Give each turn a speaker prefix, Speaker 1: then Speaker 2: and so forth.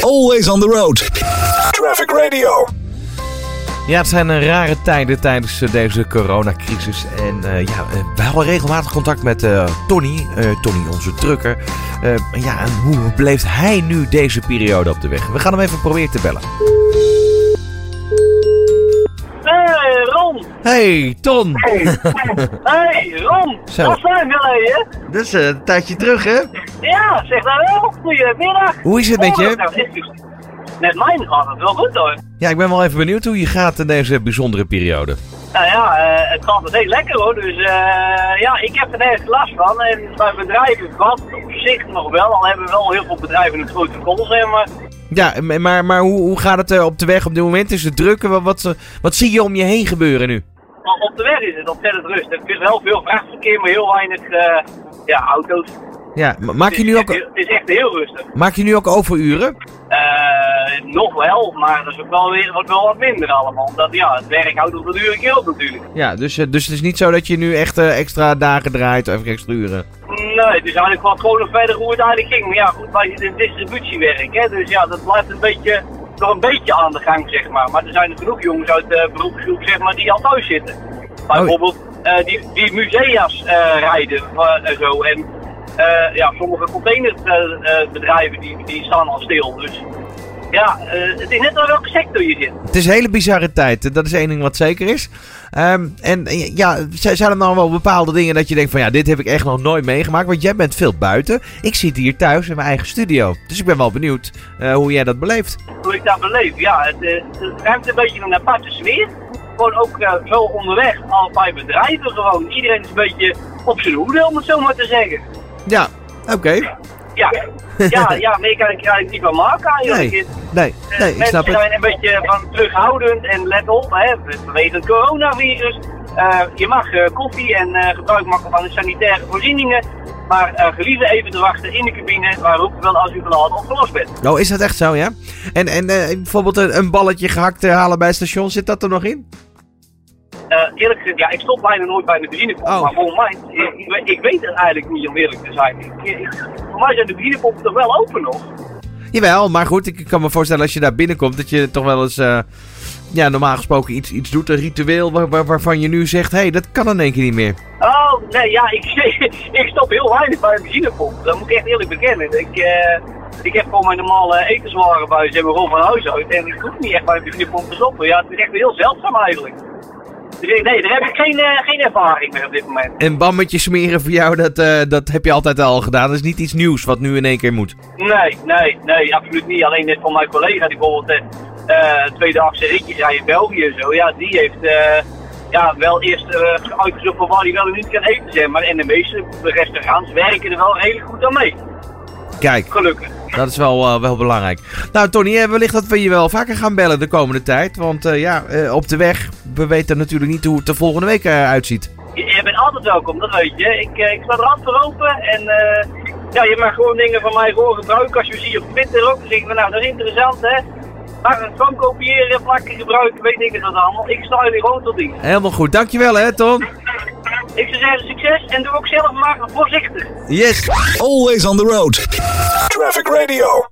Speaker 1: Always on the road. Traffic Radio.
Speaker 2: Ja, het zijn eh, rare tijden tijdens eh, deze coronacrisis. En eh, ja, eh, we hadden regelmatig contact met eh, Tony, eh, Tony onze trucker. Eh, ja, en hoe beleeft hij nu deze periode op de weg? We gaan hem even proberen te bellen.
Speaker 3: Hey Ron!
Speaker 2: Hey, Ton!
Speaker 3: Hey Ron!
Speaker 2: Zo.
Speaker 3: Dat zijn geleden!
Speaker 2: Dat is eh, een tijdje terug, hè?
Speaker 3: Ja, zeg dat wel. Goedemiddag.
Speaker 2: Hoe is het met je?
Speaker 3: Oh, nou, dit is- Met mij gaat het wel goed hoor.
Speaker 2: Ja, ik ben wel even benieuwd hoe je gaat in deze bijzondere periode.
Speaker 3: Nou ja, eh, het gaat meteen lekker hoor. Dus eh, ja, ik heb er nergens last van. En bij bedrijven wat op zich nog wel. Al hebben we wel heel veel bedrijven het protocol, zeg maar.
Speaker 2: Ja, m- maar, maar hoe, hoe gaat het eh, op de weg op dit moment? Is het druk? Wat, wat, eh, wat zie je om je heen gebeuren nu?
Speaker 3: Maar op de weg is het ontzettend rustig. Er is wel veel vrachtverkeer, maar heel weinig eh, ja, auto's.
Speaker 2: Ja, ma- maak je nu
Speaker 3: Het is echt
Speaker 2: ook,
Speaker 3: heel- het is echt heel rustig.
Speaker 2: maak je nu ook overuren?
Speaker 3: Eh, nog wel, maar dat is ook wel weer wordt wel wat minder allemaal. Omdat ja, het werk houdt op de duur een keer op natuurlijk.
Speaker 2: Ja, dus, eh, dus het is niet zo dat je nu echt eh, extra dagen draait of extra uren.
Speaker 3: Nee, dus eigenlijk kwam gewoon nog verder hoe het eigenlijk ging. Maar ja, goed, wij zitten in distributiewerk, hè. Dus ja, dat blijft een beetje, nog een beetje aan de gang, zeg maar. Maar er zijn er genoeg jongens uit de beroepsgroep, zeg maar, die al thuis zitten. Bijvoorbeeld eh, die, die musea's eh, rijden eh, en zo. En eh, ja, sommige containerbedrijven eh, die, die staan al stil. Dus ja, eh, het is net wel welke sector je zit.
Speaker 2: Het is een hele bizarre tijd, eh, dat is één ding wat zeker is. Ehm, en eh, ja, z- zijn er nou wel bepaalde dingen dat je denkt van ja, dit heb ik echt nog nooit meegemaakt. Want jij bent veel buiten. Ik zit hier thuis in mijn eigen studio. Dus ik ben wel benieuwd eh, hoe jij dat beleeft.
Speaker 3: hoe ik dat beleef. Ja, het, eh, het ruimt een beetje een aparte sfeer. Gewoon ook eh, zo onderweg, al bij bedrijven gewoon. Iedereen is een beetje op zijn hoede, om het zo maar te zeggen.
Speaker 2: Ja, oké.
Speaker 3: Ja, ja, ja meer kan ik er eigenlijk niet van maken eigenlijk.
Speaker 2: Nee,
Speaker 3: Het-
Speaker 2: nee,
Speaker 3: eh,
Speaker 2: nee, ik
Speaker 3: mensen
Speaker 2: snap het.
Speaker 3: zijn een beetje van terughoudend en let op, hè, vanwege het coronavirus. Eh, je mag eh, koffie en eh, gebruik maken van de sanitaire voorzieningen. Maar eh gelieve even te wachten in de cabine, waar ook wel als u van al opgelost bent.
Speaker 2: Oh, is dat echt zo, ja? En, en eh, bijvoorbeeld een, een balletje gehakt eh, halen bij het station, zit dat er nog in?
Speaker 3: Eh, eerlijk gezegd, ja, ik stop bijna nooit bij de benzinepomp.
Speaker 2: Oh.
Speaker 3: Maar volgens mij, eh, ik, ik weet- ik weet het eigenlijk niet om eerlijk te zijn. Ik, eh, ik- voor mij zijn de benzinepompen toch wel open nog?
Speaker 2: Jawel, maar goed, ik kan me voorstellen als je daar binnenkomt dat je toch wel eens, eh, ja, normaal gesproken iets, iets doet, een ritueel waar- waar- waarvan je nu zegt, hé, hey, dat kan in één keer niet meer.
Speaker 3: Oh, nee, ja, ik, ik stop heel weinig bij een benzinepomp. Dat moet ik echt eerlijk bekennen. Ik, eh, ik heb gewoon mijn normale etenswaren bij ze hebben gewoon van huis uit. En ik hoef niet echt bij een benzinepomp te stoppen. Ja, het is echt heel zeldzaam eigenlijk. Dus ik- nee, daar heb ik geen, eh, geen ervaring mee op dit moment.
Speaker 2: Een bammetje smeren voor jou, dat, eh, dat heb je altijd al gedaan. Dat is niet iets nieuws wat nu in één keer moet.
Speaker 3: Nee, nee, nee, absoluut niet. Alleen net van mijn collega die bijvoorbeeld eh eh, tweede achtste ritje zei in België en zo. Ja, die heeft eh, ja, wel eerst eh, uitgezocht van waar hij wel en niet kan eten zijn. Maar en de meeste restaurants werken er wel redelijk goed aan mee.
Speaker 2: Kijk,
Speaker 3: Gelukkig.
Speaker 2: dat is wel, eh, wel belangrijk. Nou, Tony, eh, wellicht dat we je wel vaker gaan bellen de komende tijd. Want eh, ja, eh, op de weg, we weten natuurlijk niet hoe het de volgende week eh, uitziet.
Speaker 3: Je, je bent altijd welkom, dat weet je. Ik, eh, ik sta er altijd voor open en eh, ja, je mag gewoon dingen van mij gewoon gebruiken. Als je me ziet op Twitter ook, dan zeg ik van nou, dat is interessant hè. Maar het kan kopiëren, plakken, gebruiken, weet ik het wat allemaal. Ik sta jullie gewoon tot dienst.
Speaker 2: Helemaal goed, dankjewel hè, Ton.
Speaker 3: Ik zou zeggen succes en doe ook zelf maar voorzichtig.
Speaker 2: Yes.
Speaker 1: Always on the road. Traffic Radio.